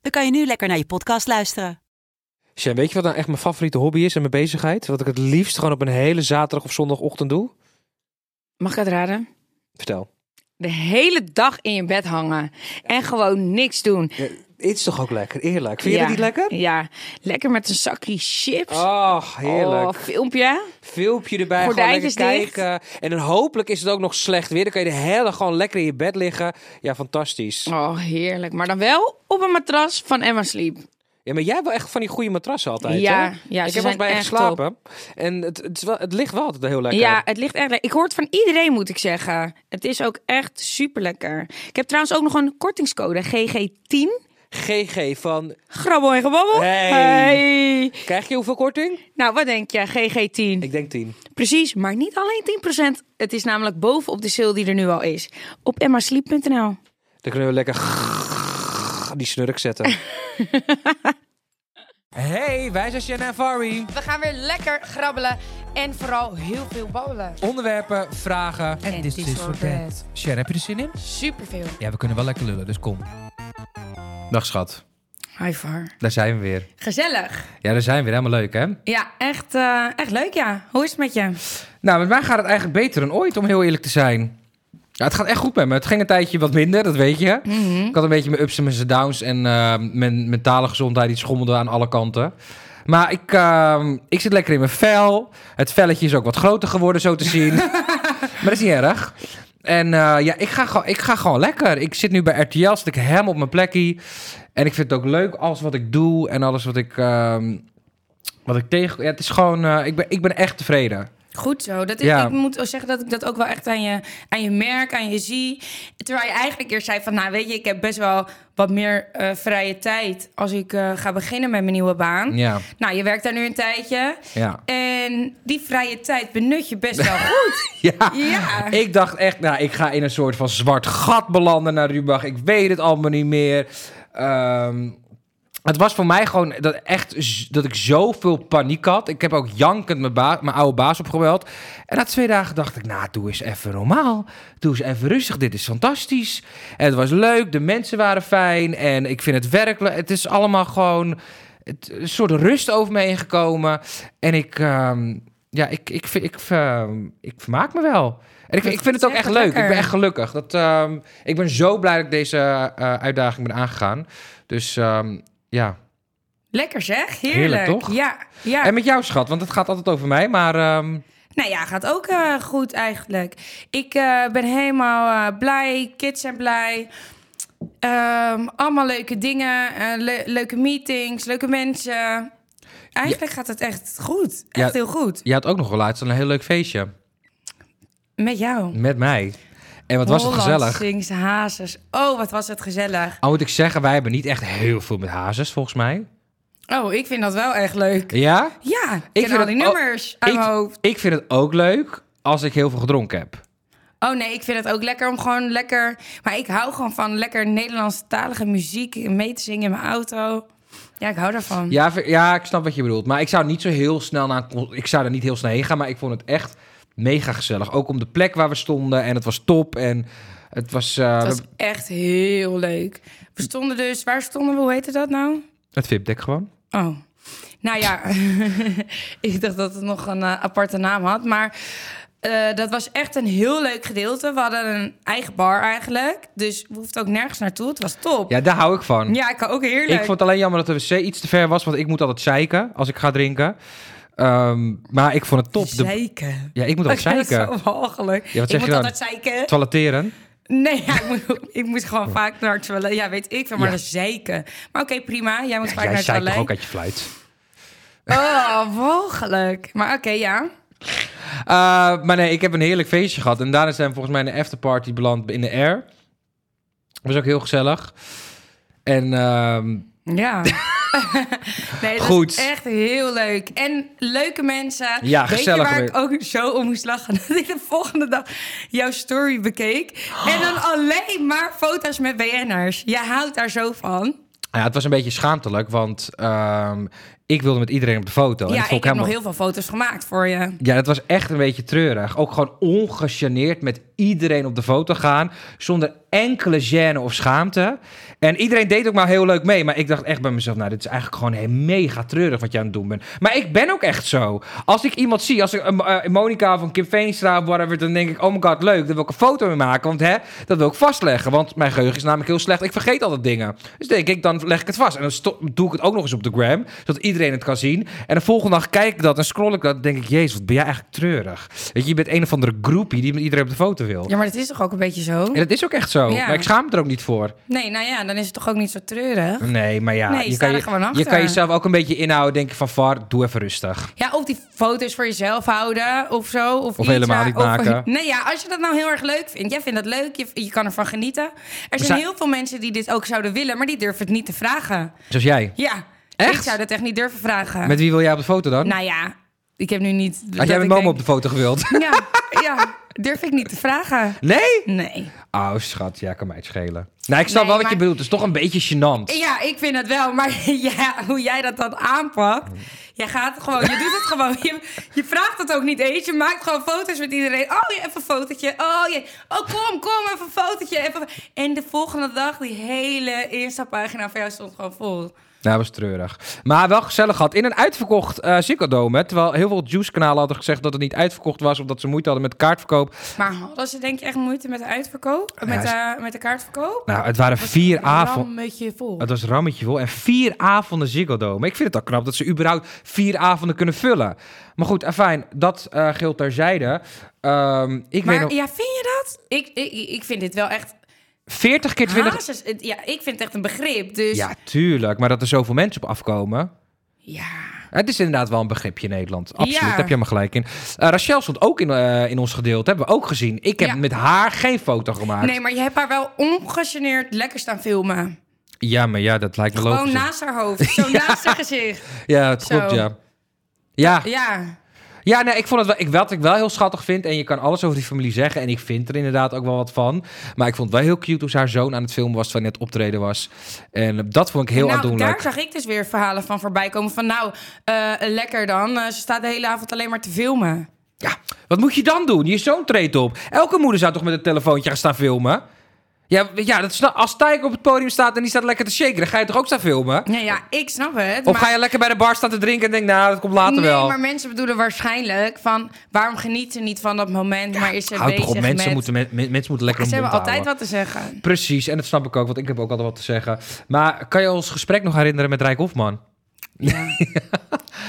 dan kan je nu lekker naar je podcast luisteren. Sjan, weet je wat nou echt mijn favoriete hobby is en mijn bezigheid? Wat ik het liefst gewoon op een hele zaterdag of zondagochtend doe? Mag ik het raden? Vertel. De hele dag in je bed hangen en gewoon niks doen. Het is toch ook lekker, eerlijk. Ja. Ja, lekker met een zakje chips. Ach, heerlijk. Oh, filmpje. Filmpje erbij, gewoon lekker Gordijntjes dicht. kijken. En dan hopelijk is het ook nog slecht weer. Dan kan je de hele gewoon lekker in je bed liggen. Ja, fantastisch. Oh, heerlijk. Maar dan wel op een matras van Emma Sleep. Ja, maar jij wil echt van die goede matrassen altijd, Ja, hè? ja, Ik ze heb zijn ook bij je echt geslapen. En het, het, is wel, het ligt wel altijd heel lekker. Ja, het ligt echt lekker. Ik hoor het van iedereen, moet ik zeggen. Het is ook echt super lekker. Ik heb trouwens ook nog een kortingscode, GG10. GG van... Grabbel en gebabbel. Hey. Hey. Krijg je hoeveel korting? Nou, wat denk je? GG10. Ik denk 10. Precies, maar niet alleen 10%. Het is namelijk bovenop de sale die er nu al is. Op emmasleep.nl. Dan kunnen we lekker die snurk zetten. hey, wij zijn Shanna en Fari. We gaan weer lekker grabbelen en vooral heel veel babbelen. Onderwerpen, vragen. En dit this is for that. Sher, heb je er zin in? Superveel. Ja, we kunnen wel lekker lullen, dus kom. Dag schat, Hi Var. daar zijn we weer. Gezellig. Ja, daar zijn we weer. Helemaal leuk, hè? Ja, echt, eh, echt leuk ja. Hoe is het met je? Nou, met mij gaat het eigenlijk beter dan ooit, om heel eerlijk te zijn. Ja, het gaat echt goed met me. Het ging een tijdje wat minder, dat weet je. Ik had een beetje mijn ups en mijn downs en eh, mijn mentale gezondheid die schommelde aan alle kanten. Maar ik, ehm, ik zit lekker in mijn vel. Het velletje is ook wat groter geworden, zo te zien. maar dat is niet erg. En eh, ja, ik ga, gewoon, ik ga gewoon lekker. Ik zit nu bij RTL, zit ik helemaal op mijn plekje. En ik vind het ook leuk, alles wat ik doe en alles wat ik, ehm, wat ik tegen... Ja, het is gewoon... eh, ik, ben, ik ben echt tevreden. Goed zo. Dat is, Ja. Ik moet ook zeggen dat ik dat ook wel echt aan je, aan je merk, aan je zie. Terwijl je eigenlijk eerst zei van, nou weet je, ik heb best wel wat meer eh, vrije tijd als ik eh, ga beginnen met mijn nieuwe baan. Ja, Nou, je werkt daar nu een tijdje. ja. En die vrije tijd benut je best wel goed. Ja. Ja. Ik dacht echt, nou, ik ga in een soort van zwart gat belanden naar Rubach. Ik weet het allemaal niet meer. Ehm, het was voor mij gewoon dat, echt, z- dat ik zoveel paniek had. Ik heb ook jankend mijn, ba- mijn oude baas opgebeld. En na twee dagen dacht ik, nou, doe eens even normaal. Doe eens even rustig. Dit is fantastisch. En het was leuk. De mensen waren fijn. En ik vind het werk... le- Het is allemaal gewoon het, een soort rust over me heen gekomen. En ik... ehm, ja, ik, ik, vind- ik, ehm, ik vermaak me wel. En ik, ik vind het ook echt leuk. Ik ben echt gelukkig. Dat, ehm, ik ben zo blij dat ik deze eh, uitdaging ben aangegaan. Dus ehm, ja. Lekker zeg, heerlijk. Heerlijk, toch? Ja, ja. En met jou, schat, want het gaat altijd over mij. Maar ehm, Nou ja, gaat ook eh, goed eigenlijk. Ik eh, ben helemaal eh, blij. Kids zijn blij. Ehm, allemaal leuke dingen. eh, le- leuke meetings, leuke mensen. Eigenlijk gaat het echt goed. Echt Ja. heel goed. je had ook nog wel laatst een heel leuk feestje. Met jou. Met mij. En wat was het gezellig. Sings, hazes. Oh, wat was het gezellig. Al moet ik zeggen, wij hebben niet echt heel veel met hazes, volgens mij. Oh, ik vind dat wel echt leuk. Ja? Ja, ik vind ken al het die ook- nummers uit mijn Ik, hoofd. ik vind het ook leuk als ik heel veel gedronken heb. Oh nee, ik vind het ook lekker om gewoon lekker... Maar ik hou gewoon van lekker Nederlandstalige muziek mee te zingen in mijn auto. Ja, ik hou daarvan. Ja, ver- ja, ik snap wat je bedoelt. Maar ik zou niet zo heel snel naar... een con- Ik zou er niet heel snel heen gaan, maar ik vond het echt mega gezellig. Ook om de plek waar we stonden en het was top en het was... eh, Dat we- was echt heel leuk. We stonden dus... Waar stonden we? Hoe heette dat nou? Het VIP-deck gewoon. Oh. Nou ja, ik dacht dat het nog een eh, aparte naam had. Maar eh, dat was echt een heel leuk gedeelte. We hadden een eigen bar eigenlijk. Dus we hoefden ook nergens naartoe. Het was top. Ja, Ja, daar hou ik van. ik kan ook heerlijk. Ik vond het alleen jammer dat de wc iets te ver was, want ik moet altijd zeiken als ik ga drinken. Ehm, maar ik vond het top. De- Zeiken. ja, ik moet altijd Dat is zeiken. zo walgelijk. Ja, wat zeg ik moet je dan? altijd zeiken. Toiletteren. Nee, ja, ik, moet, ik moet gewoon vaak naar het toilet. Ja, weet ik veel, maar Ja. dat is zeiken. Maar oké, prima. Jij moet vaak naar Jij het zeikt toilet. toch ook uit je fluit. Oh, walgelijk. Maar oké, ja. Eh, maar nee, ik heb een heerlijk feestje gehad. En daarna zijn we volgens mij in de afterparty beland in de air. Was ook heel gezellig. En En ehm, Ja. nee, dat Goed. is echt heel leuk. En leuke mensen. Ja, Weet je gezellig waar weer. ik ook zo om moest lachen? Dat ik de volgende dag jouw story bekeek. En dan alleen maar foto's met BN'ers. Je houdt daar zo Oh, van. ja, het was een beetje schaamtelijk, want ehm, ik wilde met iedereen op de foto. en dat ja, vond ik heb nog heel veel foto's gemaakt voor je. Ja, dat was echt een beetje treurig. Ook gewoon ongegeneerd met iedereen op de foto gaan. Zonder enkele gêne of schaamte. En iedereen deed ook maar heel leuk mee. Maar ik dacht echt bij mezelf, nou, dit is eigenlijk gewoon he- mega treurig wat je aan het doen bent. Maar ik ben ook echt zo. Als ik iemand zie, als ik een eh, Monica van Kim Veenstra of whatever, dan denk ik, oh my god, leuk. Daar wil ik een foto mee maken. Want hè, dat wil ik vastleggen. Want mijn geheugen is namelijk heel slecht. Ik vergeet altijd dingen. Dus denk ik, dan leg ik het vast. En dan sto- doe ik het ook nog eens op de gram, zodat iedereen het kan zien. En de volgende dag kijk ik dat en scroll ik dat. Dan denk ik, jezus, wat ben jij eigenlijk treurig. Weet je, je bent een of andere groepie die met iedereen op de foto wil. Ja, maar dat is toch ook een beetje zo? En dat is ook echt zo. Ja. Maar ik schaam me er ook niet voor. Nee, nou ja, dan is het toch ook niet zo treurig? Nee, maar ja, Nee, je, sta kan er je- gewoon je achter. kan jezelf ook een beetje inhouden. Denk je van, var, doe even rustig. Ja, of die foto's voor jezelf houden of zo. Of, iets, helemaal ja, niet of- maken. Nee, ja, als je dat nou heel erg leuk vindt. Jij vindt dat leuk, je, je kan ervan genieten. Er zijn zijn- heel veel mensen die dit ook zouden willen, maar die durven het niet te vragen. Zoals jij. Ja, Echt? ik zou dat echt niet durven vragen. Met wie wil jij op de foto dan? Nou dus ja, ik heb nu niet... Had jij met mama op de foto gewild? de... Ja, ja, durf ik niet te vragen. Nee? Nee. Oh, schat, ja, kan mij het schelen. Nou, ik snap Nee, wel wat je maar- bedoelt. Het is toch een beetje gênant. Ja, ik vind het wel, maar ja, hoe jij dat dan aanpakt. Jij gaat gewoon, je doet het gewoon. Je, je vraagt het ook niet eens. Je maakt gewoon foto's met iedereen. Oh, ja, even een fotootje. Oh, ja. oh kom, kom, even een fotootje. Even... En de volgende dag, die hele Insta-pagina van jou stond gewoon vol. Nou, dat was treurig. Maar wel gezellig gehad. In een uitverkocht eh Ziggo Dome, hè. Terwijl heel veel Juice-kanalen hadden gezegd dat het niet uitverkocht was... of dat ze moeite hadden met kaartverkoop. Maar hadden ze denk je echt moeite met de uitverkoop? Met, de, met de kaartverkoop? Nou, het waren vier avonden... beetje vol. Het was rammetje vol. En vier avonden Ziggo Dome. Ik vind het al knap dat ze überhaupt vier avonden kunnen vullen. Maar goed, afijn, dat eh geldt terzijde. Ehm, ik weet Maar nog... ja, vind je dat? Ik, ik, ik vind dit wel echt... 40 keer 20... hazes. Het- Ja, ik vind het echt een begrip, dus... Ja, tuurlijk. Maar dat er zoveel mensen op afkomen... ja. Het is inderdaad wel een begripje in Nederland. Absoluut, Ja. daar heb je me gelijk in. Eh, Rachel stond ook in, eh, in ons gedeelte, hebben we ook gezien. Ik heb Ja. met haar geen foto gemaakt. Nee, maar je hebt haar wel ongegeneerd lekker staan filmen. Ja, maar ja, dat lijkt me Gewoon logisch. naast haar hoofd. Zo naast haar gezicht. Ja, het Zo. klopt, ja. Ja, Ja. ja nee, ik vond het wel, ik, wat ik wel heel schattig vind, en je kan alles over die familie zeggen, en ik vind er inderdaad ook wel wat van. Maar ik vond het wel heel cute hoe ze haar zoon aan het filmen was, terwijl hij net optreden was. En eh, dat vond ik heel nou, aandoenlijk. daar zag ik dus weer verhalen van voorbij komen. Van nou, eh, lekker dan. Eh, ze staat de hele avond alleen maar te filmen. Ja, wat moet je dan doen? Je zoon treedt op. Elke moeder zou toch met een telefoontje gaan staan filmen? Ja, ja dat is, nou- als Tijk op het podium staat en die staat lekker te shaken, dan ga je toch ook staan filmen? Nee, ja, ik snap het. Of ga je lekker bij de bar staan te drinken en denk, nou, dat komt later nee, wel. maar mensen bedoelen waarschijnlijk van... waarom geniet ze niet van dat moment, maar is ze Houd bezig toch op, mensen, met... moeten, men- men- mensen moeten lekker ze een hebben mond altijd houden. wat te zeggen. Precies, en dat snap ik ook, want ik heb ook altijd wat te zeggen. Maar kan je ons gesprek nog herinneren met Rijk Hofman? Ja.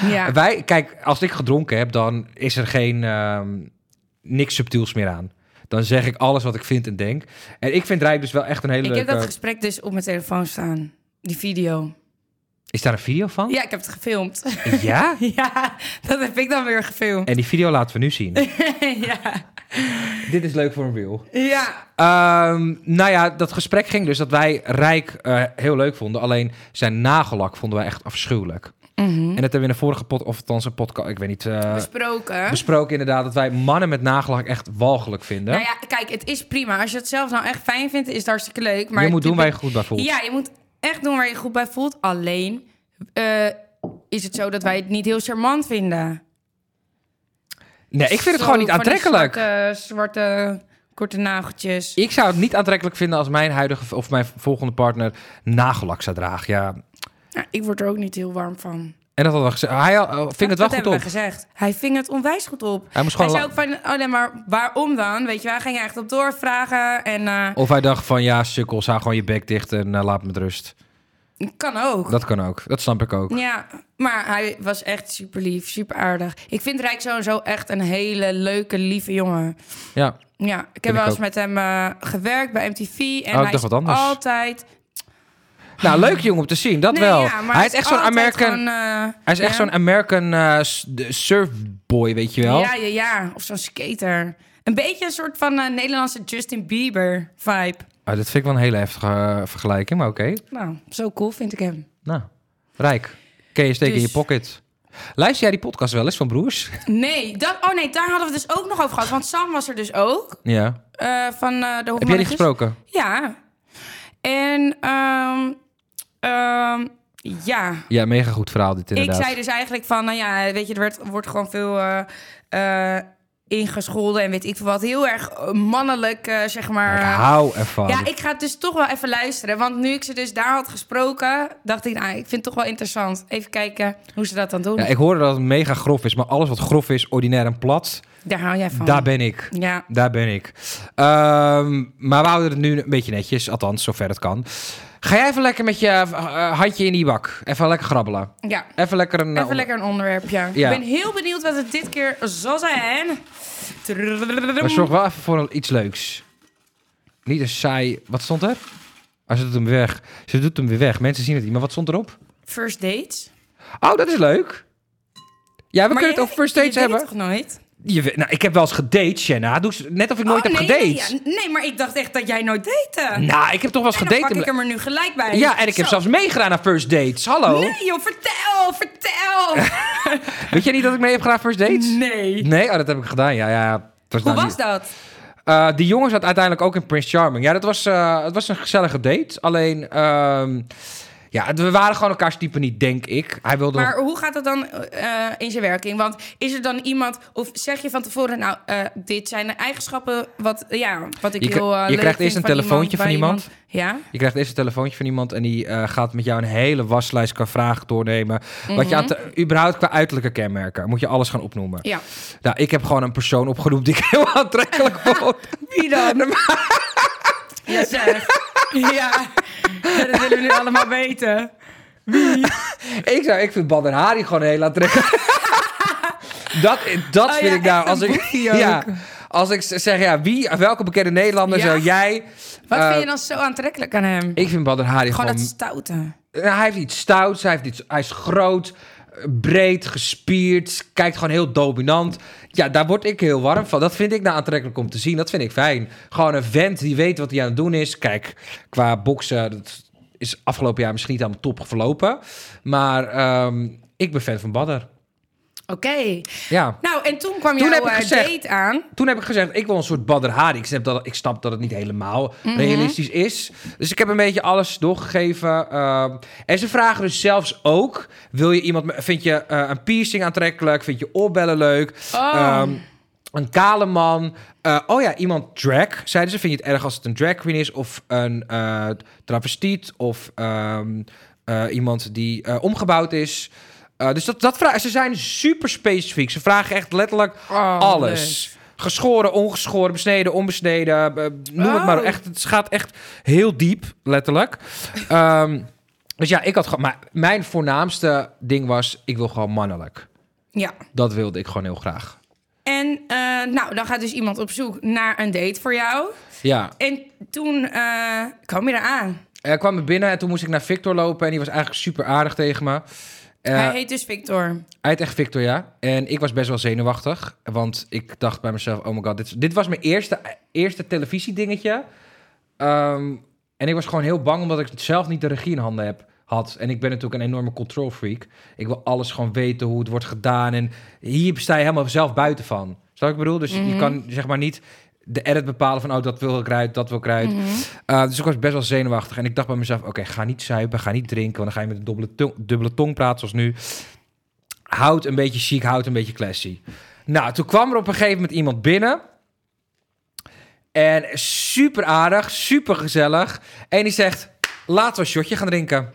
ja. Wij, kijk, als ik gedronken heb, dan is er geen ehm, niks subtiels meer aan. Dan zeg ik alles wat ik vind en denk. En ik vind Rijk dus wel echt een hele Ik heb leuke... dat gesprek dus op mijn telefoon staan. Die video. Is daar een video van? Ja, ik heb het gefilmd. Ja? Ja, dat heb ik dan weer gefilmd. En die video laten we nu zien. ja. Dit is leuk voor een wiel. ja. nou ja, dat gesprek ging dus dat wij Rijk eh, heel leuk vonden. Alleen zijn nagellak vonden wij echt afschuwelijk. Mhm. En dat hebben we in de vorige pod, of althans een podcast, ik weet niet, eh, Besproken. besproken inderdaad. Dat wij mannen met nagellak echt walgelijk vinden. Nou ja, kijk, het is prima. Als je het zelf nou echt fijn vindt, is het hartstikke leuk. Maar je moet doen dit- waar je goed bij voelt. Ja, je moet echt doen waar je goed bij voelt. Alleen eh, is het zo dat wij het niet heel charmant vinden. nee, ik vind het Zo gewoon niet van die aantrekkelijk. Zwarte, zwarte korte nageltjes. Ik zou het niet aantrekkelijk vinden als mijn huidige of mijn volgende partner nagellak zou dragen. Ja. Ja, Nou, ik word er ook niet heel warm van. En dat hadden we gezegd. Hij eh, ving het wel dat goed hebben op. we gezegd. Hij ving het onwijs goed op. Hij moest gewoon zei ook van, oh nee, maar waarom dan? Weet je, hij ging echt op doorvragen. En eh, Of hij dacht van ja, sukkel, hou gewoon je bek dicht en eh, laat me met rust. Oh. kan ook. Dat kan ook. Dat snap ik ook. Ja, maar hij was echt super lief, super aardig. Ik vind Rijk sowieso echt een hele leuke, lieve jongen. Ja. Ja, ik ik heb wel eens ook. met hem eh, gewerkt bij MTV. En Oh, ik hij dacht is wat anders. altijd... Nou, leuk jongen om te zien. Dat Nee, wel. ja, maar hij is echt zo'n altijd American, gewoon, eh, hij is echt ja. zo'n American eh, s- de- surfboy, weet je wel? Ja, ja, ja. Of zo'n skater. Een beetje een soort van eh, Nederlandse Justin Bieber vibe. Ah, dat vind ik wel een hele heftige eh, vergelijking, maar oké. Nou, zo cool vind ik hem. Nou, rijk. Kun je steken in je Dus- pocket. Luister jij die podcast wel eens van Broers? Nee, dat, oh nee, daar hadden we het dus ook nog over gehad. Want Sam was er dus ook. Ja. eh, van eh, de Heb jij die Hofmannetjes. gesproken? Ja. En ehm, ehm, ja, Ja, mega goed verhaal dit inderdaad. Ik zei dus eigenlijk van, nou ja, weet je, er werd, wordt gewoon veel eh, eh, ingescholden en weet ik veel wat. Heel erg eh, mannelijk, eh, zeg maar. ik hou ervan. ja, ik ga het dus toch wel even luisteren. Want nu ik ze dus daar had gesproken, dacht ik, nou, ik vind het toch wel interessant. Even kijken hoe ze dat dan doen. Ja, ik hoorde dat het mega grof is, maar alles wat grof is, ordinair en plat, Daar hou jij van. daar ben ik. Ja, Daar ben ik. Ehm, maar we houden het nu een beetje netjes, althans, zover het kan. Ga jij even lekker met je eh, handje in die bak. Even lekker grabbelen. ja. Even lekker een... eh, Even lekker een onderwerpje. Ja. Ik ben heel benieuwd wat het dit keer zal zijn. Maar zorg wel even voor een- iets leuks. Niet een saai... Wat stond er? Ah, ze doet hem weg. Ze doet hem weer weg. Mensen zien het niet. Maar wat stond erop? First dates. Oh, dat is leuk. Ja, we Maar kunnen jij- het over first dates je deed hebben. toch nooit? Je, weet- nou, ik heb wel eens gedate, Shanna. Doe eens net of ik nooit Oh, heb nee, gedate. Nee, ja. nee, maar ik dacht echt dat jij nooit date. Nou, ik heb toch wel eens En dan gedate. pak ik hem er nu gelijk bij. Ja, en ik heb Zo. zelfs Oh. meegedaan aan first dates. Hallo. Nee joh, vertel, vertel. Weet jij niet dat ik mee heb gedaan aan first dates? nee. Nee, oh, dat heb ik gedaan. Ja, ja. ja. Het Hoe nou was niet- dat? Eh, die jongen zat uiteindelijk ook in Prince Charming. Ja, dat was, eh, het was een gezellige date. Alleen, ehm, ja, het- we waren gewoon elkaars type niet, denk ik. Hij wilde nog- Maar hoe gaat dat dan eh, in zijn werking? Want is er dan iemand, of zeg je van tevoren, nou, eh, dit zijn de eigenschappen wat, ja, wat ik Je kri- heel. eh, je leuk krijgt vind eerst een van iemand, telefoontje van bij iemand. Ja? Je krijgt eerst een telefoontje van iemand en die eh, gaat met jou een hele waslijst qua vragen doornemen. Wat je aan te- überhaupt qua uiterlijke kenmerken, moet je alles gaan opnoemen. Mhm. Ja. Nou, ik heb gewoon een persoon opgenoemd die ik heel aantrekkelijk vond. Wie dan? ja, zeg. ja. Ja, dat willen we nu allemaal weten. ik, zou, ik vind Badr Hari gewoon heel aantrekkelijk. dat dat Oh vind ja, ik nou... echt Als een ik, boefie ook. ja, als ik z- zeg, ja, wie, welke bekende Nederlander Ja? zou jij... Wat eh, vind je dan zo aantrekkelijk aan hem? Ik vind Badr Hari Gewoon gewoon... dat stoute. Nou, hij heeft iets stouts, hij, heeft iets, hij is groot, eh, breed, gespierd, kijkt gewoon heel dominant. Ja, daar word ik heel warm van. Dat vind ik nou aantrekkelijk om te zien. Dat vind ik fijn. Gewoon een vent die weet wat hij aan het doen is. Kijk, qua boksen dat is afgelopen jaar misschien niet helemaal top verlopen. Maar ehm, ik ben fan van Badder. Oké. Ja. Nou, en toen kwam Toen jouw heb ik eh, gezegd- date aan. Toen heb ik gezegd, ik wil een soort Badr Hari. Ik snap dat, ik snap dat het niet helemaal realistisch is. Dus ik heb een beetje alles doorgegeven. ehm. en ze vragen dus zelfs ook... Wil je iemand, met- vind je eh, een piercing aantrekkelijk? Vind je oorbellen leuk? Ehm, een kale man. Eh, oh ja, iemand drag. Zeiden ze, vind je het erg als het een drag queen is? Of een eh travestiet? Of ehm, eh, iemand die eh, omgebouwd is? Eh, dus dat, dat vragen, ze zijn super specifiek. Ze vragen echt letterlijk Oh, alles. Geschoren, ongeschoren, besneden, onbesneden. eh, Noem het maar. Oh. Echt, het gaat echt heel diep, letterlijk. Ehm, dus ja, ik had gewoon. Maar mijn voornaamste ding was: ik wil gewoon mannelijk. Ja. Dat wilde ik gewoon heel graag. En eh, nou, dan gaat dus iemand op zoek naar een date voor jou. Ja. En toen eh, kwam je eraan. Hij kwam er binnen en toen moest ik naar Victor lopen. En die was eigenlijk super aardig tegen me. Eh, Hij heet dus Victor. Hij heet echt Victor, ja. En ik was best wel zenuwachtig. Want ik dacht bij mezelf, oh my god, dit, is- dit was mijn eerste, eerste televisiedingetje. Ehm, en ik was gewoon heel bang omdat ik zelf niet de regie in handen heb, had. En ik ben natuurlijk een enorme control freak. Ik wil alles gewoon weten hoe het wordt gedaan. En hier sta je helemaal zelf buiten van. Snap je wat ik bedoel? Dus je kan zeg maar niet de edit bepalen van... oh, dat wil ik eruit, dat wil ik eruit. Uh, dus ik was best wel zenuwachtig. En ik dacht bij mezelf, oké, ga niet zuipen, ga niet drinken... want dan ga je met een dubbele tong, dubbele tong praten zoals nu. Houd een beetje chic, houd een beetje classy. Nou, toen kwam er op een gegeven moment iemand binnen... En super aardig, super gezellig. En die zegt: laten we een shotje gaan drinken.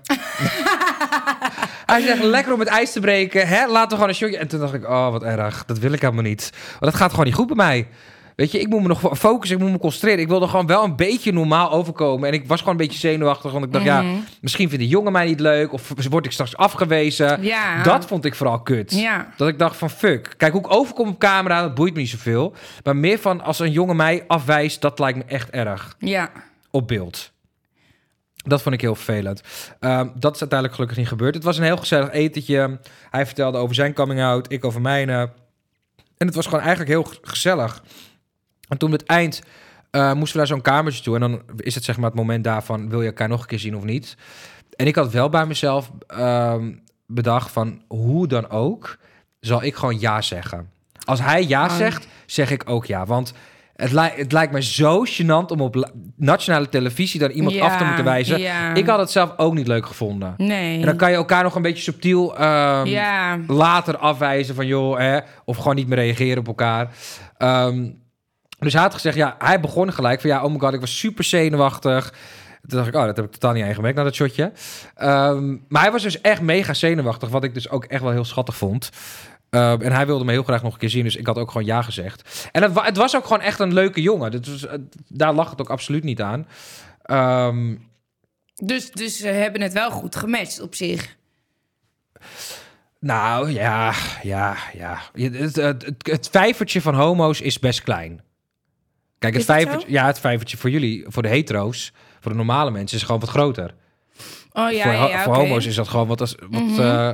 Hij zegt, lekker om het ijs te breken. Hè? Laten we gewoon een shotje. En toen dacht ik, oh, wat erg. Dat wil ik helemaal niet. Want dat gaat gewoon niet goed bij mij. Weet je, ik moet me nog focussen. Ik moet me concentreren. Ik wilde gewoon wel een beetje normaal overkomen. En ik was gewoon een beetje zenuwachtig. Want ik dacht, ja, misschien vindt die jongen mij niet leuk. Of word ik straks afgewezen. Ja. Dat vond ik vooral kut. Ja. Dat ik dacht van, fuck. Kijk, hoe ik overkom op camera, dat boeit me niet zoveel. Maar meer van, als een jongen mij afwijst, dat lijkt me echt erg Ja. op beeld. Dat vond ik heel vervelend. Ehm, dat is uiteindelijk gelukkig niet gebeurd. Het was een heel gezellig etentje. Hij vertelde over zijn coming out, ik over mijne. En het was gewoon eigenlijk heel g- gezellig. En toen op het eind eh, eh, moesten we naar zo'n kamertje toe. En dan is het zeg maar het moment daarvan, wil je elkaar nog een keer zien of niet? En ik had wel bij mezelf ehm, bedacht van, hoe dan ook, zal ik gewoon ja zeggen. Als hij ja zegt, zeg ik ook ja. Want het, lij- het lijkt me zo gênant om op la- nationale televisie dan iemand Ja, af te moeten wijzen. ja. Ik had het zelf ook niet leuk gevonden. Nee. En dan kan je elkaar nog een beetje subtiel ehm, ja. later afwijzen van joh, hè, of gewoon niet meer reageren op elkaar. Ehm, dus hij had gezegd, ja, hij begon gelijk van ja, oh my god, ik was super zenuwachtig. Toen dacht ik, oh, dat heb ik totaal niet aangemerkt na dat shotje. Ehm, maar hij was dus echt mega zenuwachtig, wat ik dus ook echt wel heel schattig vond. Ehm, en hij wilde me heel graag nog een keer zien, dus ik had ook gewoon ja gezegd. En het, wa- het was ook gewoon echt een leuke jongen. Dat was, het- daar lag het ook absoluut niet aan. Ehm, Dus, dus ze hebben het wel goed gematcht op zich. Nou ja, ja, ja. Je- Het, het, het, het vijvertje van homo's is best klein. Kijk, het Is dat vijvertje, ja, het vijvertje voor jullie, voor de hetero's, voor de normale mensen, is gewoon wat groter. Oh ja, voor ja, ho- ja, voor oké. Mhm. homo's is dat gewoon wat. als- wat eh,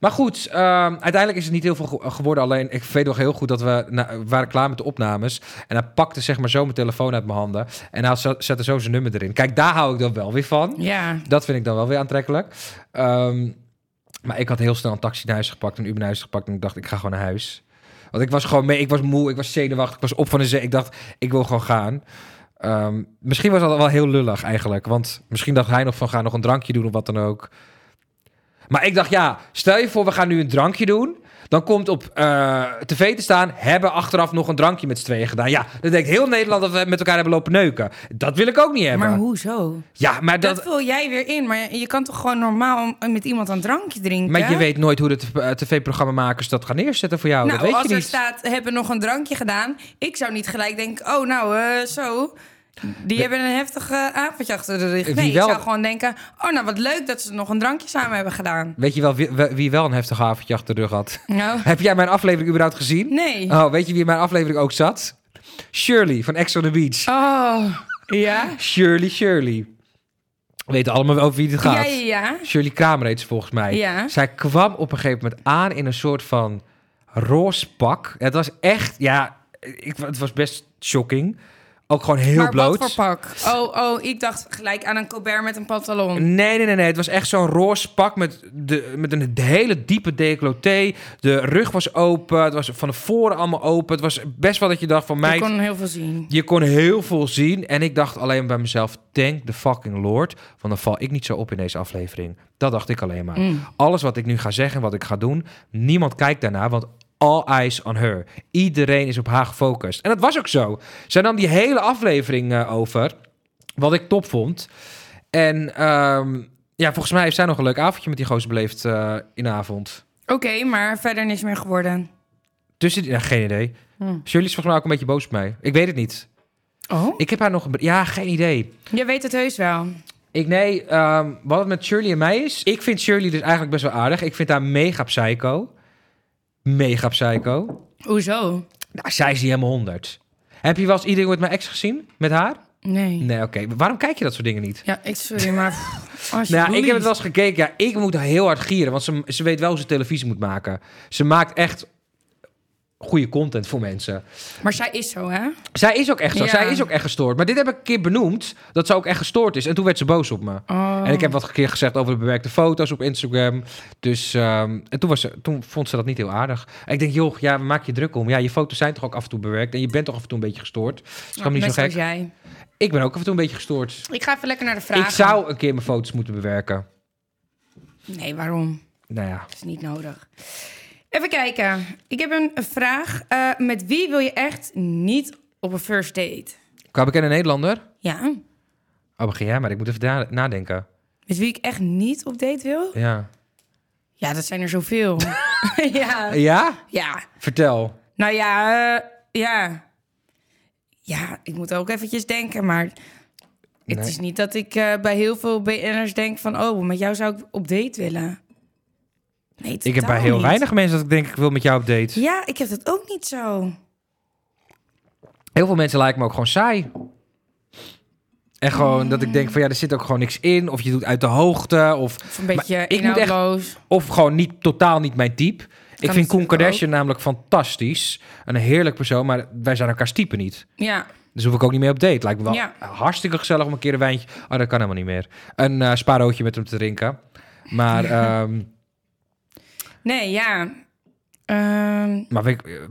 maar goed, ehm, uiteindelijk is het niet heel veel ge- geworden. Alleen ik weet nog heel goed dat we, na- we waren klaar met de opnames. En hij pakte zeg maar zo mijn telefoon uit mijn handen. En hij zo- zette zo zijn nummer erin. Kijk, daar hou ik dan wel weer van. Ja. Dat vind ik dan wel weer aantrekkelijk. Ehm, maar ik had heel snel een taxi naar huis gepakt, een Uber naar huis gepakt. En ik dacht, ik ga gewoon naar huis. Want ik was gewoon mee, ik was moe, ik was zenuwachtig, ik was op van de zee. Ik dacht, ik wil gewoon gaan. Ehm, misschien was dat wel heel lullig eigenlijk. Want misschien dacht hij nog van, ga nog een drankje doen of wat dan ook. Maar ik dacht, ja, stel je voor, we gaan nu een drankje doen. Dan komt op eh, tv te staan, hebben achteraf nog een drankje met z'n tweeën gedaan. Ja, dan denkt heel Nederland dat we met elkaar hebben lopen neuken. Dat wil ik ook niet hebben. Maar hoezo? Ja, maar dat, Dat, vul jij weer in, maar je kan toch gewoon normaal om- met iemand een drankje drinken? Maar je weet nooit hoe de tv- eh, tv-programmamakers dat gaan neerzetten voor jou. nou, dat weet als je er niet. staat, hebben nog een drankje gedaan. Ik zou niet gelijk denken, oh nou, eh, zo. Die hebben een heftig eh, avondje achter de rug. Wie Nee, wel? ik zou gewoon denken, oh nou, wat leuk dat ze nog een drankje samen hebben gedaan. Weet je wel wie, wie wel een heftig avondje achter de rug had? Nou, Heb jij mijn aflevering überhaupt gezien? nee. Oh, weet je wie in mijn aflevering ook zat? Shirley van Ex on the Beach. Oh, ja? Shirley, Shirley. We weten allemaal over wie het gaat. Ja, ja, ja. Shirley Kramer heet ze volgens mij. Ja. Zij kwam op een gegeven moment aan in een soort van roze pak. Het was echt, ja, ik, het was best shocking. Ook gewoon heel maar bloot. wat voor pak? Oh, oh, ik dacht gelijk aan een Colbert met een pantalon. Nee, nee, nee, nee. Het was echt zo'n roze pak met, de, met een hele diepe decolleté. De rug was open. Het was van de voren allemaal open. Het was best wel dat je dacht van mij. Ik kon heel veel zien. Je kon heel veel zien. En ik dacht alleen bij mezelf: thank the fucking lord. Want dan val ik niet zo op in deze aflevering. Dat dacht ik alleen maar. Alles wat ik nu ga zeggen, wat ik ga doen, niemand kijkt daarna. Want all eyes on her. Iedereen is op haar gefocust. En dat was ook zo. Zij nam die hele aflevering eh, over. Wat ik top vond. En ehm, ja, volgens mij heeft zij nog een leuk avondje met die gozer beleefd eh, in de avond. Oké, maar verder niks meer geworden. Tussen die, nou, geen idee. Shirley is volgens mij ook een beetje boos op mij. Ik weet het niet. Oh? Ik heb haar nog een. br- Ja, geen idee. Je weet het heus wel. Ik nee, ehm, wat het met Shirley en mij is. Ik vind Shirley dus eigenlijk best wel aardig. Ik vind haar mega psycho. Mega psycho. Hoezo? Nou, zij is niet helemaal honderd. Heb je wel eens iedereen met mijn ex gezien? Met haar? Nee. Nee, oké. Waarom kijk je dat soort dingen niet? Ja, ik sorry, maar... alsjeblieft. Nou, ja, ik heb het wel eens gekeken. Ja, ik moet heel hard gieren, want ze, ze weet wel hoe ze televisie moet maken. Ze maakt echt goede content voor mensen. Maar zij is zo, hè? Zij is ook echt zo. Ja. Zij is ook echt gestoord. Maar dit heb ik een keer benoemd, dat ze ook echt gestoord is. En toen werd ze boos op me. Oh. En ik heb wat keer gezegd over de bewerkte foto's op Instagram. Dus ehm, en toen, was ze, toen vond ze dat niet heel aardig. En ik denk, joh, ja, waar maak je druk om? Ja, je foto's zijn toch ook af en toe bewerkt. En je bent toch af en toe een beetje gestoord. Dat is gewoon niet Net zo gek. zoals jij. Ik ben ook af en toe een beetje gestoord. Ik ga even lekker naar de vragen. Ik zou een keer mijn foto's moeten bewerken. Nee, waarom? Nou ja. Dat is niet nodig. Even kijken. Ik heb een vraag. Eh, met wie wil je echt niet op een first date? Qua bekende Nederlander? Ja. Oh, begin jij maar. Ik moet even da- nadenken. Met wie ik echt niet op date wil? Ja. Ja, dat zijn er zoveel. ja. Ja? Ja. Vertel. Nou ja, eh, ja. Ja, ik moet ook eventjes denken, maar het Nee. is niet dat ik eh, bij heel veel BN'ers denk van, oh, met jou zou ik op date willen. Nee, Ik heb bij totaal heel niet. weinig mensen dat ik denk, ik wil met jou op date. Ja, ik heb dat ook niet zo. Heel veel mensen lijken me ook gewoon saai. En gewoon dat ik denk van ja, er zit ook gewoon niks in. Of je doet uit de hoogte. Of, Of een Maar beetje ik moet echt- inhoudloos. of gewoon niet, totaal niet mijn type. Ik vind natuurlijk Koen Kardashian namelijk fantastisch. Een heerlijk persoon, maar wij zijn elkaars type niet. Ja, Dus hoef ik ook niet meer op date. Lijkt me wel Ja. hartstikke gezellig om een keer een wijntje... Oh, dat kan helemaal niet meer. Een eh sparootje met hem te drinken. Maar, ehm, Nee, ja. Ehm, maar weet ik, eh,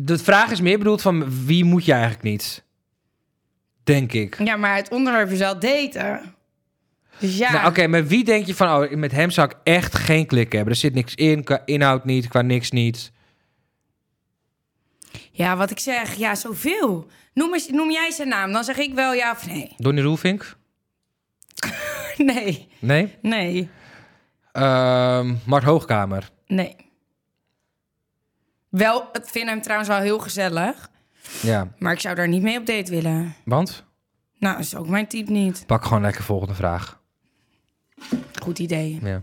de vraag is meer bedoeld van wie moet je eigenlijk niet? Denk ik. ja, maar het onderwerp is al daten. Dus ja. Nou, Oké, maar wie denk je van, oh, met hem zou ik echt geen klik hebben? Er zit niks in, qua inhoud niet, qua niks niet. Ja, wat ik zeg, ja, zoveel. Noem, eens, noem jij zijn naam, dan zeg ik wel ja of nee. Donnie Roelvink? Nee, Nee. nee, Ehm Mart Hoogkamer? nee. Wel, ik vind hem trouwens wel heel gezellig. Ja, Maar ik zou daar niet mee op date willen. want? Nou, dat is ook mijn type niet. Pak gewoon lekker volgende vraag. Goed idee. Ja.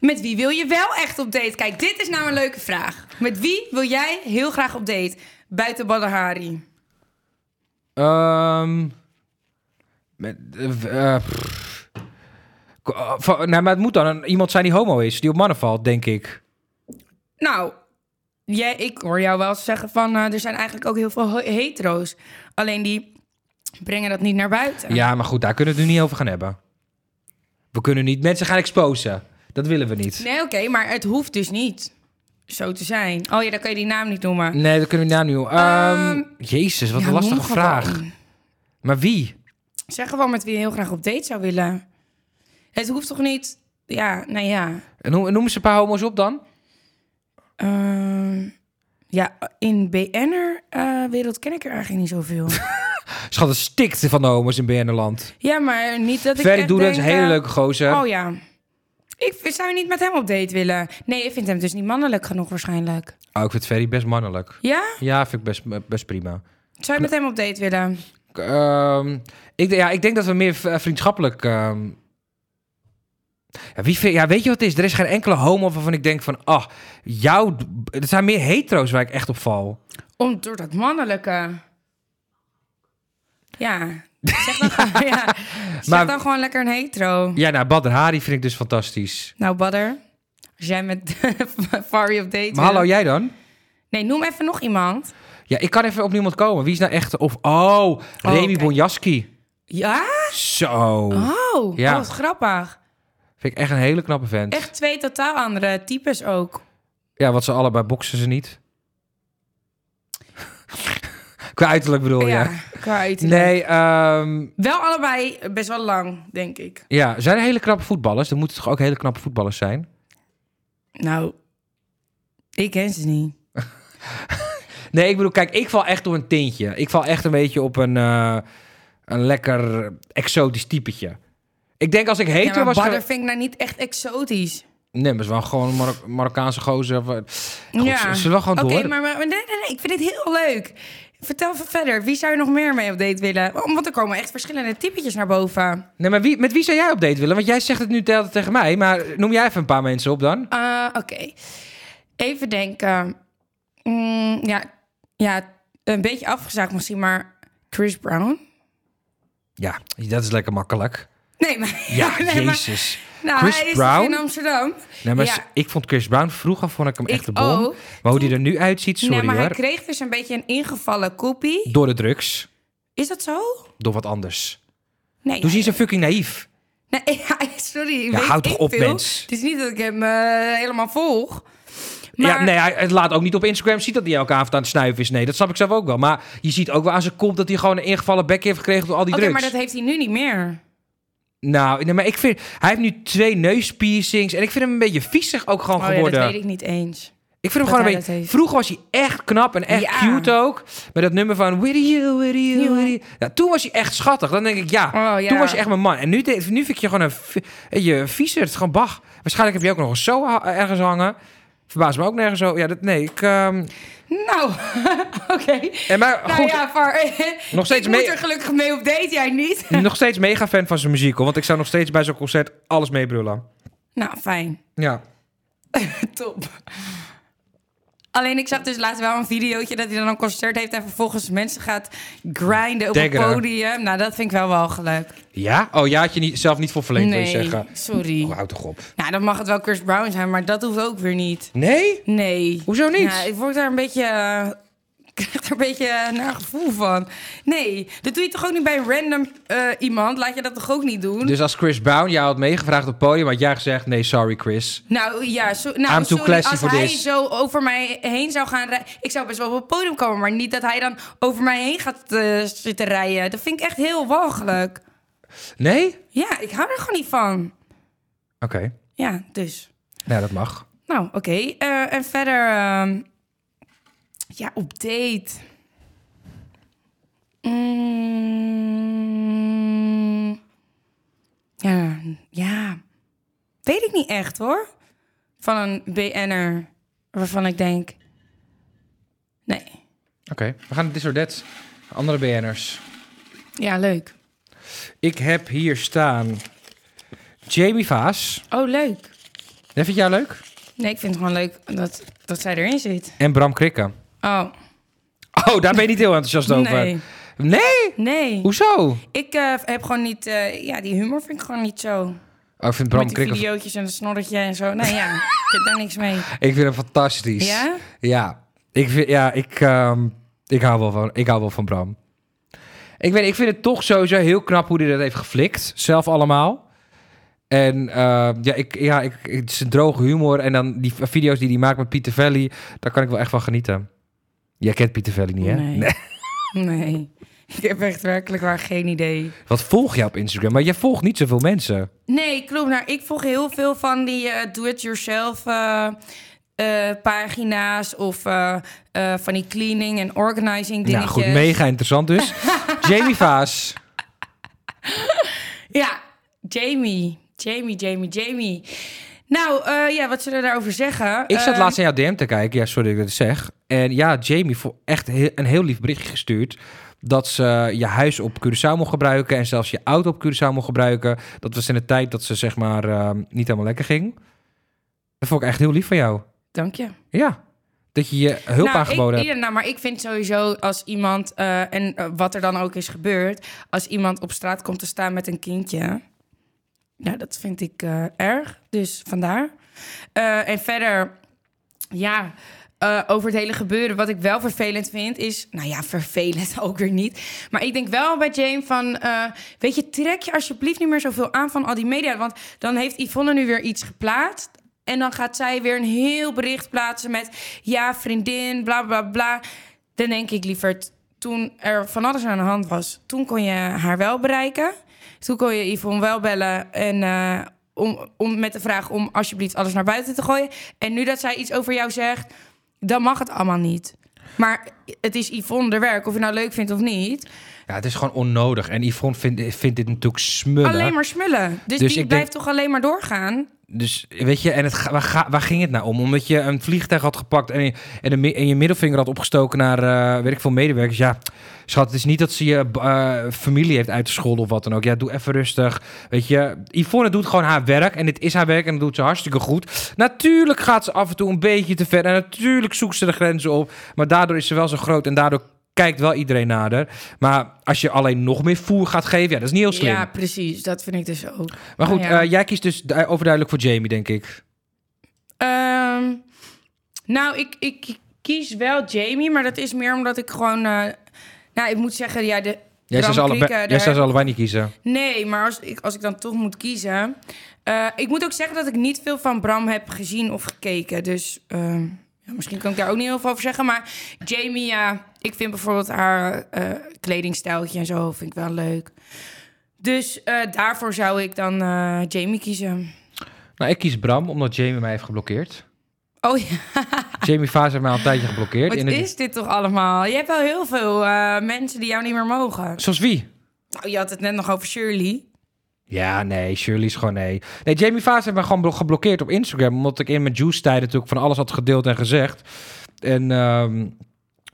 Met wie wil je wel echt op date? Kijk, dit is nou een leuke vraag. Met wie wil jij heel graag op date? Buiten Badahari. Ehm, met, eh, eh, pff. Ko- eh, van- nou, maar het moet dan een, iemand zijn die homo is, die op mannen valt, denk ik. Nou, jij, ik hoor jou wel eens zeggen van... eh, er zijn eigenlijk ook heel veel ho- hetero's. Alleen die brengen dat niet naar buiten. Ja, maar goed, daar kunnen we het nu niet over gaan hebben. We kunnen niet mensen gaan exposen. Dat willen we niet. Nee, oké, maar het hoeft dus niet zo te zijn. Oh ja, dan kan je die naam niet noemen. Nee, dat kunnen we na nu. Ehm, Jezus, wat ja, een lastige noem gewoon. vraag. Maar wie? Zeg gewoon met wie je heel graag op date zou willen. Het hoeft toch niet... Ja, nou ja. En noem, noem eens een paar homo's op dan. Ehm, ja, in BN'er-wereld ken ik er eigenlijk niet zoveel. Schat, het stikt van de homo's in Bernerland. ja, maar niet dat ik Ferry echt Doedens, een denk, hele eh, leuke gozer. Oh ja. Ik v- zou niet met hem op date willen. Nee, ik vind hem dus niet mannelijk genoeg waarschijnlijk. Oh, ik vind Ferry best mannelijk. Ja? Ja, vind ik best, best prima. Zou je met hem op date willen? Ik, ehm, ik, ja, ik denk dat we meer v- eh, vriendschappelijk... ehm, Ja, wie vind, ja, weet je wat het is? Er is geen enkele homo waarvan ik denk van... Ah, jou... Er zijn meer hetero's waar ik echt op val. Om door dat mannelijke. Ja. Zeg dan, gewoon- ja. Zeg Maar- dan gewoon lekker een hetero. Ja, nou, Badr Hari vind ik dus fantastisch. Nou, Badder. Als jij met Fari op date Maar wil- hallo, jij dan? Nee, noem even nog iemand. Ja, ik kan even op niemand komen. Wie is nou echt... Of, oh, Remy kijk. Bonjaski. Ja? Zo. Oh, Ja. oh, wat grappig. Vind ik echt een hele knappe vent. Echt twee totaal andere types ook. Ja, wat ze allebei boksen ze niet. Qua uiterlijk bedoel je? ja, qua uiterlijk. Oh, Nee, ehm, Wel allebei best wel lang, denk ik. ja, zijn er hele knappe voetballers? Er moeten toch ook hele knappe voetballers zijn? Nou, ik ken ze niet. Nee, ik bedoel, kijk, ik val echt op een tintje. Ik val echt een beetje op een, eh, een lekker exotisch typetje. Ik denk als ik Ja, heter maar was... Badder ge- vind ik nou niet echt exotisch. Nee, maar is wel gewoon een Marok- Marokkaanse gozer. of- Goed, ja. zullen we wel gewoon Oké, door? maar, maar maar nee, nee, nee, ik vind dit heel leuk. Vertel even verder. Wie zou je nog meer mee op date willen? Oh, Want er komen echt verschillende typetjes naar boven. Nee, maar wie, met wie zou jij op date willen? Want jij zegt het nu telkens tegen mij, maar noem jij even een paar mensen op dan. Eh, Oké. Even denken. Mm, ja, ja, een beetje afgezaagd misschien, maar Chris Brown? Ja, dat is lekker makkelijk. Nee, maar... Ja, nee, maar- jezus. nou, Chris hij is Brown? dus in Amsterdam. Nee, maar Ja. s- ik vond Chris Brown vroeger vond ik hem echt Ik de bom. ook. Maar hoe die er nu uitziet, sorry nee, maar hij hoor. kreeg dus een beetje een ingevallen kopie. Door de drugs, Is dat zo? door wat anders. Nee. Dus hij is een fucking naïef. Nee, ja, sorry. Ja, weet houd ik toch op, veel. mens. Het is niet dat ik hem eh, helemaal volg. Maar, Ja, nee, hij het laat ook niet op Instagram zien dat hij elke avond aan het snuiven is. Nee, dat snap ik zelf ook wel. Maar je ziet ook wel aan zijn kont dat hij gewoon een ingevallen bek heeft gekregen door al die Oké, drugs. maar dat heeft hij nu niet meer. Nou, nee, maar ik vind... Hij heeft nu twee neuspiercings en ik vind hem een beetje viezig ook gewoon Oh ja, dat geworden. weet ik niet eens. Ik vind hem Dat gewoon een hij dat beetje... heeft. Vroeger was hij echt knap en echt Ja. cute ook. Met dat nummer van... With you, with you, Ja. with you. Ja, toen was hij echt schattig. Dan denk ik, ja, Oh, ja. toen was je echt mijn man. En nu, de- nu vind ik je gewoon een, vi- weet je viezer. Het is gewoon bach. Waarschijnlijk heb je ook nog een zo ha- ergens hangen. Verbaas me ook nergens zo. Ja, dat, nee, ik... ehm, Nou, oké. en maar Nou goed, ja, Var, Nog steeds ik moet mee- er gelukkig mee op date, jij niet. nog steeds mega fan van zijn muziek. Hoor, want ik zou nog steeds bij zo'n concert alles meebrullen. nou, fijn. Ja. Top. Alleen ik zag dus laatst wel een videootje dat hij dan een concert heeft en vervolgens mensen gaat grinden op Daggeren. een podium. Nou, dat vind ik wel wel geluk. Ja? Oh, ja had je niet, zelf niet voor verleend, wil je nee, zeggen. sorry. Oh, houd toch op. Nou, dan mag het wel Chris Brown zijn, maar dat hoeft ook weer niet. Nee? Nee. Hoezo niet? Ja, ik word daar een beetje. eh, ik krijg daar een beetje eh, naar gevoel van. Nee, dat doe je toch ook niet bij een random eh, iemand? Laat je dat toch ook niet doen? Dus als Chris Brown jou had meegevraagd op het podium, had jij gezegd: nee, sorry, Chris. Nou ja, zo, nou, I'm too sorry, classy als for hij this. zo over mij heen zou gaan rijden... Ik zou best wel op het podium komen, maar niet dat hij dan over mij heen gaat eh, zitten rijden. Dat vind ik echt heel walgelijk. Nee? Oké. Ja, ik hou er gewoon niet van. Ja, dus. Nou, dat mag. Nou, oké. Eh, en verder... ehm, ja, op date. Mm, ja, ja. Weet ik niet echt, hoor. Van een BN'er waarvan ik denk... Nee. Oké. We gaan naar Disordet. Andere BN'ers. Ja, leuk. Ik heb hier staan Jamie Vaas. Oh, leuk. Dat vind jij leuk? Nee, ik vind het gewoon leuk dat, dat zij erin zit. En Bram Krikke. Oh, Oh, daar ben je niet heel enthousiast over. nee. Nee? Nee. Hoezo? Ik eh, heb gewoon niet... eh, ja, die humor vind ik gewoon niet zo... Oh, ik vind Bram Met die Krikke... videootjes en een snorretje en zo. Nou ja, ik heb daar niks mee. Ik vind hem fantastisch. Ja? Ja. Ik, vind, ja, ik, ehm, ik, hou wel van, ik hou wel van Bram. Ik, weet, ik vind het toch sowieso heel knap hoe hij dat heeft geflikt. Zelf allemaal. En eh, ja, ik, ja ik, het is een droge humor. En dan die video's die hij maakt met Pieter Valley. Daar kan ik wel echt van genieten. Jij kent Pieter Valley niet, hè? Nee. Nee. Ik heb echt werkelijk waar geen idee. Wat volg jij op Instagram? Maar jij volgt niet zoveel mensen. Nee, klopt. Nou, ik volg heel veel van die eh, do-it-yourself eh, eh, pagina's of eh, eh, van die cleaning en organizing Nou dingetjes. goed, mega interessant dus. Jamie Vaas. Ja, Jamie. Jamie, Jamie, Jamie. Nou, eh, ja, wat zullen we daarover zeggen? Ik zat Eh, laatst naar jouw DM te kijken. Ja, sorry dat ik dat zeg. En ja, Jamie voor echt he- een heel lief berichtje gestuurd. Dat ze eh, je huis op Curaçao mocht gebruiken. En zelfs je auto op Curaçao mocht gebruiken. Dat was in de tijd dat ze zeg maar eh, niet helemaal lekker ging. Dat vond ik echt heel lief van jou. Dank je. Ja. Dat je je hulp nou, aangeboden ik, hebt. ja, nou, maar ik vind sowieso als iemand, eh, en eh, wat er dan ook is gebeurd, als iemand op straat komt te staan met een kindje, ja, dat vind ik eh, erg. Dus vandaar. Eh, en verder, ja, eh, over het hele gebeuren, wat ik wel vervelend vind, is, nou ja, vervelend ook weer niet. Maar ik denk wel bij Jane van, eh, weet je, trek je alsjeblieft niet meer zoveel aan van al die media, want dan heeft Yvonne nu weer iets geplaatst. En dan gaat zij weer een heel bericht plaatsen met... ja, vriendin, bla, bla, bla. Dan denk ik liever... t- toen er van alles aan de hand was... toen kon je haar wel bereiken. Dus Toen kon je Yvonne wel bellen en... eh, om, om met de vraag om alsjeblieft alles naar buiten te gooien. En nu dat zij iets over jou zegt, dan mag het allemaal niet. Maar het is Yvonne de werk, of je nou leuk vindt of niet. Ja, het is gewoon onnodig. En Yvonne vindt vindt dit natuurlijk smullen. Alleen maar smullen. Dus, Dus die ik blijft toch alleen maar doorgaan. Dus weet je, en het, ga- waar, ga- waar ging het nou om? Omdat je een vliegtuig had gepakt en, je- en, de mi- en je middelvinger had opgestoken naar, eh, weet ik veel, medewerkers. Ja, schat, het is niet dat ze je eh, familie heeft uitgescholden of wat dan ook. Ja, doe even rustig. Weet je, Yvonne doet gewoon haar werk en dit is haar werk en dat doet ze hartstikke goed. Natuurlijk gaat ze af en toe een beetje te ver en natuurlijk zoekt ze de grenzen op. Maar daardoor is ze wel zo groot en daardoor kijkt wel iedereen nader. Maar als je alleen nog meer voer gaat geven, ja, dat is niet heel slim. Ja, precies. Dat vind ik dus ook. maar goed, nou ja. eh, jij kiest dus du- overduidelijk voor Jamie, denk ik. Ehm, nou, ik, ik kies wel Jamie, maar dat is meer omdat ik gewoon... eh, nou, ik moet zeggen, ja, de... Jij zou, ze Bram allebei, Krikke, jij daar- zou ze allebei niet kiezen. Nee, maar als ik, als ik dan toch moet kiezen... eh, ik moet ook zeggen dat ik niet veel van Bram heb gezien of gekeken. Dus ehm, ja, misschien kan ik daar ook niet heel veel over zeggen. Maar Jamie, ja, ik vind bijvoorbeeld haar eh kledingstijltje en zo vind ik wel leuk. Dus eh, daarvoor zou ik dan eh, Jamie kiezen. Nou, ik kies Bram, omdat Jamie mij heeft geblokkeerd. Oh ja. Jamie Vaas heeft mij al een tijdje geblokkeerd. Wat In het- is dit toch allemaal? Je hebt wel heel veel eh, mensen die jou niet meer mogen. Zoals wie? Nou, je had het net nog over Shirley. Ja, nee, Shirley is gewoon nee. Nee, Jamie Vaas heeft mij gewoon blo- geblokkeerd op Instagram. Omdat ik in mijn juice tijd natuurlijk van alles had gedeeld en gezegd. En ehm,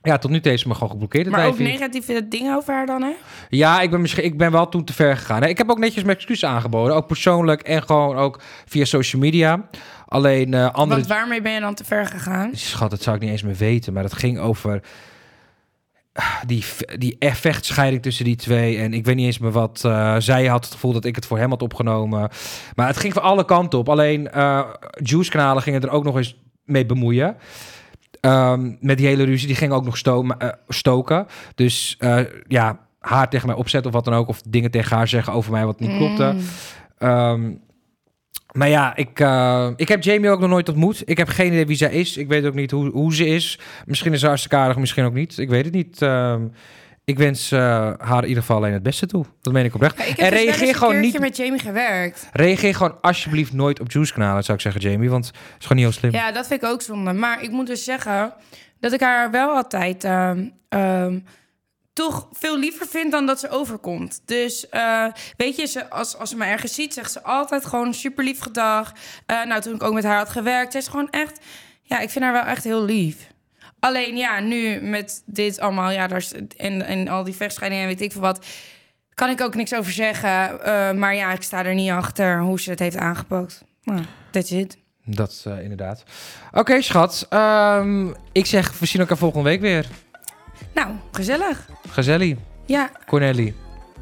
Ja, tot nu toe heeft ze me gewoon geblokkeerd. Dat Maar wij ook vinden- negatieve dingen over haar dan, hè? Ja, ik ben, misschien, ik ben wel toen te ver gegaan. Nee, Ik heb ook netjes mijn excuses aangeboden. Ook persoonlijk en gewoon ook via social media. Alleen eh andere... Want waarmee ben je dan te ver gegaan? Schat, dat zou ik niet eens meer weten. Maar dat ging over ah, die, v- die e- vechtscheiding tussen die twee. En ik weet niet eens meer wat... eh, zij had het gevoel dat ik het voor hem had opgenomen. Maar het ging van alle kanten op. Alleen eh Juice-kanalen gingen er ook nog eens mee bemoeien. Ehm, met die hele ruzie. Die gingen ook nog stomen, eh, stoken. Dus eh, ja, haar tegen mij opzetten of wat dan ook. Of dingen tegen haar zeggen over mij wat niet klopte. Ehm, maar ja, ik, eh, ik heb Jamie ook nog nooit ontmoet. Ik heb geen idee wie zij is. Ik weet ook niet hoe, hoe ze is. Misschien is ze hartstikke aardig, misschien ook niet. Ik weet het niet. Ehm, ik wens eh, haar in ieder geval alleen het beste toe. Dat meen ik oprecht. Ja, ik heb en dus wel eens reageer een gewoon keertje niet met Jamie gewerkt. Reageer gewoon alsjeblieft nooit op Juice-kanalen, zou ik zeggen, Jamie. Want het is gewoon niet heel slim. Ja, dat vind ik ook zonde. Maar ik moet dus zeggen dat ik haar wel altijd ehm, ehm, toch veel liever vind dan dat ze overkomt. Dus eh, weet je, ze, als, als ze me ergens ziet, zegt ze altijd gewoon super lief gedag. Eh, nou, toen ik ook met haar had gewerkt, ze is gewoon echt. Ja, ik vind haar wel echt heel lief. Alleen ja, nu met dit allemaal, ja, daar is- en, en al die vechtscheidingen en weet ik veel wat, kan ik ook niks over zeggen. Eh, maar ja, ik sta er niet achter hoe ze het heeft aangepakt. Nou, that's it. Dat eh, inderdaad. Oké, schat. Ehm, ik zeg, we zien elkaar volgende week weer. Nou, gezellig. Gazelli, Ja, Cornelli.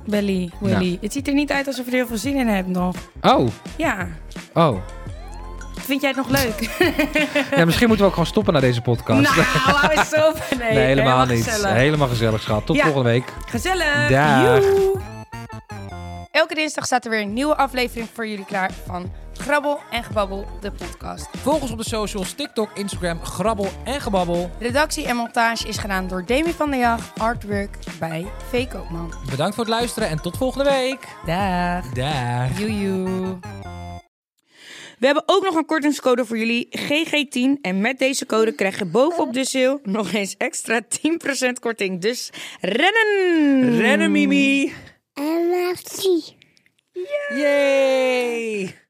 Belly, Willy. Het ziet er niet uit alsof je er heel veel zin in hebt nog. Oh, Ja, oh. vind jij het nog leuk? Ja, misschien moeten we ook gewoon stoppen na deze podcast. nou, hou eens op. Nee, nee, helemaal niet. gezellig. Helemaal gezellig, schat. Tot Ja. volgende week. Gezellig. Dag. Joe. Elke dinsdag staat er weer een nieuwe aflevering voor jullie klaar van Grabbel en Gebabbel, de podcast. Volg ons op de socials, TikTok, Instagram, Grabbel en Gebabbel. Redactie en montage is gedaan door Demi van der Jag, artwork bij V. Koopman. Bedankt voor het luisteren en tot volgende week. Dag. Daag. Joejoe. We hebben ook nog een kortingscode voor jullie, GG10. En met deze code krijg je bovenop de sale nog eens extra 10% korting. Dus rennen! Rennen, Mimi. I love tea. Yay.